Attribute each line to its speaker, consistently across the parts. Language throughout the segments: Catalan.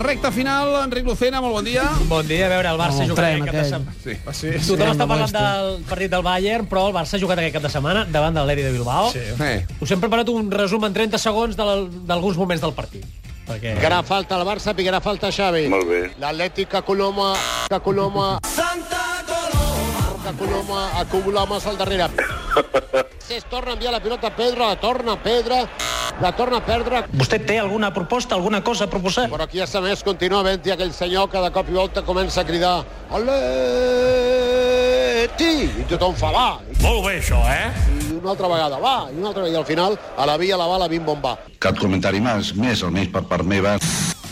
Speaker 1: Recta final, Enric Lucena, molt bon dia.
Speaker 2: Bon dia, a veure, el Barça
Speaker 3: Amb el
Speaker 2: ha jugat
Speaker 3: tren
Speaker 2: aquest cap de
Speaker 3: aquell.
Speaker 2: setmana.
Speaker 1: Sí, sí,
Speaker 2: Tothom
Speaker 3: Sí,
Speaker 2: està
Speaker 3: amb el
Speaker 2: parlant del partit del Bayern, però el Barça ha jugat aquest cap de setmana davant de l'Eri de Bilbao.
Speaker 3: Sí.
Speaker 1: Eh,
Speaker 2: Us hem preparat un resum en 30 segons de la- d'alguns moments del partit. Perquè...
Speaker 4: Picarà falta el Barça, picarà falta Xavi.
Speaker 5: Molt bé.
Speaker 4: L'Atlètic que Coloma, que Coloma... Santa Coloma! Que Coloma acumula homes al darrere. Si es torna a enviar la pilota a Pedro, la torna a Pedro, la torna a perdre.
Speaker 6: Vostè té alguna proposta, alguna cosa a proposar?
Speaker 4: Però aquí, a més, continua vent-hi aquell senyor que de cop i volta comença a cridar Atleti! I tothom fa va.
Speaker 7: Molt bé, això, eh?
Speaker 4: I una altra vegada va, i una altra vegada. I al final, a la via la va, la bim bomba.
Speaker 5: Cap comentari més, més almenys per part meva.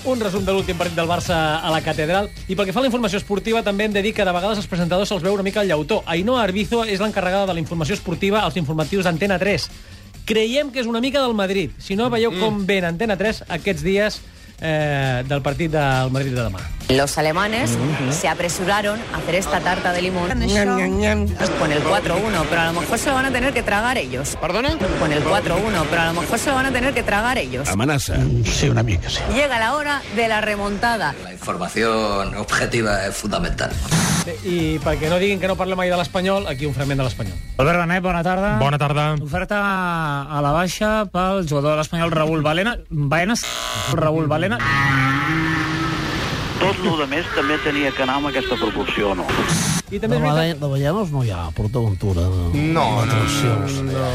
Speaker 2: Un resum de l'últim partit del Barça a la catedral. I pel que fa a la informació esportiva, també hem de dir que de vegades els presentadors se'ls veu una mica el llautó. Ainhoa Arbizo és l'encarregada de la informació esportiva als informatius d'Antena 3. Creiem que és una mica del Madrid. Si no, veieu
Speaker 7: Mm.
Speaker 2: com ven Antena 3 aquests dies eh, del partit del Madrid de demà.
Speaker 8: Los alemanes se apresuraron a hacer esta tarta de limón con el 4-1, pero a lo mejor se lo van a tener que tragar ellos.
Speaker 4: Perdona? Ah.
Speaker 8: Con el 4-1, pero a lo mejor se lo van a tener que tragar ellos.
Speaker 1: amenaça.
Speaker 6: Sí, una mica, sí.
Speaker 8: Llega la hora de la remontada.
Speaker 9: La información objetiva es fundamental.
Speaker 2: Bé, I perquè no diguin que no parlem mai de l'Espanyol, aquí un fragment de l'Espanyol.
Speaker 3: Albert Benet, bona tarda.
Speaker 7: Bona tarda.
Speaker 3: Oferta a la baixa pel jugador de l'Espanyol, Raül Balena. Baenas, Raül Balena.
Speaker 10: tot el que més també tenia que anar amb aquesta proporció, no?
Speaker 2: I també és veritat...
Speaker 6: de Ballanos no hi ha PortAventura.
Speaker 1: No, no,
Speaker 3: No,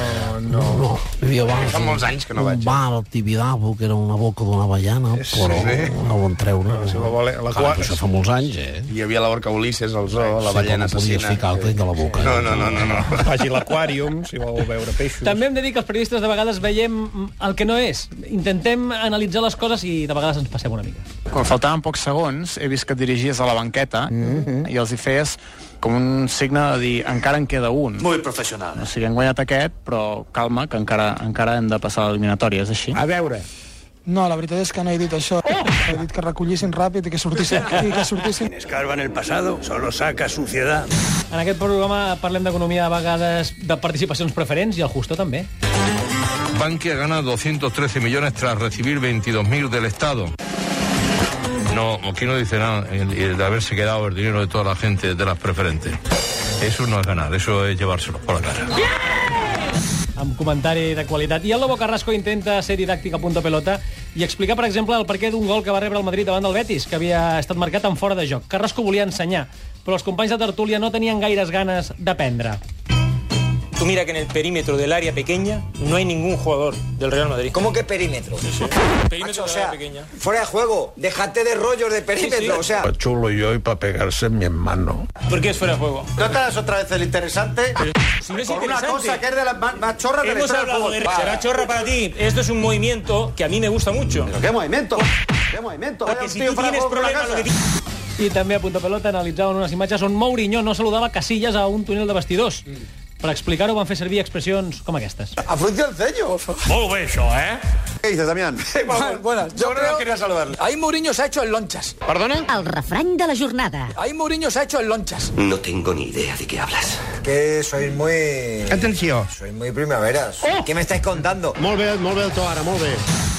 Speaker 3: no.
Speaker 6: No, hi havia abans...
Speaker 1: Fa molts anys que no
Speaker 6: un
Speaker 1: vaig.
Speaker 6: bar al Tibidabo, que era una boca d'una ballana, però no ho van treure.
Speaker 3: si la vole- la
Speaker 6: Clar,
Speaker 3: qua-
Speaker 6: però això fa molts anys, eh?
Speaker 1: Hi havia l'orca Ulisses, el zoo, la
Speaker 6: Sí,
Speaker 1: ballena
Speaker 6: com ho podies
Speaker 1: assassina.
Speaker 6: ficar el tret de la boca. eh?
Speaker 1: No, no, no, no. no.
Speaker 3: Vagi a l'aquàrium, si vol veure peixos.
Speaker 2: També hem de dir que els periodistes de vegades veiem el que no és. Intentem analitzar les coses i de vegades ens passem una mica.
Speaker 10: Quan faltaven pocs segons, he vist que et dirigies a la banqueta mm -hmm. i els hi feies com un signe de dir encara en queda un. Muy professional. O sigui, hem guanyat aquest, però calma, que encara encara hem de passar l'eliminatòria, és així?
Speaker 1: A veure,
Speaker 10: No, la veritat és que no he dit això.
Speaker 7: Oh!
Speaker 10: He dit que recollissin ràpid i que sortissin... I que sortissin...
Speaker 7: Escarba en el pasado, solo saca suciedad.
Speaker 2: En aquest programa parlem d'economia de vegades de participacions preferents i el Justo també.
Speaker 7: Bankia gana 213 millones tras recibir 22.000 del Estado. No, aquí no dice nada el, el de haberse quedado el dinero de toda la gente de las preferentes. Eso no es ganar, eso es llevárselo por la cara.
Speaker 2: amb comentari de qualitat. I el Lobo Carrasco intenta ser didàctic a punta pelota i explicar, per exemple, el perquè d'un gol que va rebre el Madrid davant del Betis, que havia estat marcat en fora de joc. Carrasco volia ensenyar, però els companys de tertúlia no tenien gaires ganes d'aprendre.
Speaker 10: Tú mira que en el perímetro del área pequeña no hay ningún jugador del Real Madrid.
Speaker 9: ¿Cómo que perímetro?
Speaker 10: Perímetro del área pequeña.
Speaker 9: Fuera de juego, déjate de rollos de perímetro, o sea.
Speaker 7: Chulo yo y para pegarse en mi hermano.
Speaker 10: ¿Por qué es fuera de juego?
Speaker 4: No te das otra vez el interesante.
Speaker 10: Si no es interesante.
Speaker 4: que es de las más chorras
Speaker 10: Hemos hablado de... Será chorra para ti. Esto es un movimiento que a mí me gusta mucho.
Speaker 4: ¡Qué movimiento! ¡Qué movimiento!
Speaker 10: Porque si tú tienes problemas, lo que tienes...
Speaker 2: I també a punta pelota analitzaven unes imatges on Mourinho no saludava Casillas a un túnel de vestidors. Per explicar-ho van fer servir expressions com aquestes.
Speaker 4: ¡Afruncia Mm. el ceño, por favor!
Speaker 7: Molt bé, això, eh?
Speaker 4: ¿Qué dices, Damián? Buenas, Yo, no quería saludarle.
Speaker 10: Ahí Mourinho se ha hecho en lonchas.
Speaker 4: ¿Perdona?
Speaker 8: Al refrán de la jornada.
Speaker 10: Ahí Mourinho se ha hecho en lonchas.
Speaker 9: No tengo ni idea de qué hablas.
Speaker 4: Que soy muy...
Speaker 1: Atenció.
Speaker 4: Soy muy primaveras.
Speaker 9: ¿Qué me estáis contando?
Speaker 4: Molt bé, molt bé el to ara, molt bé.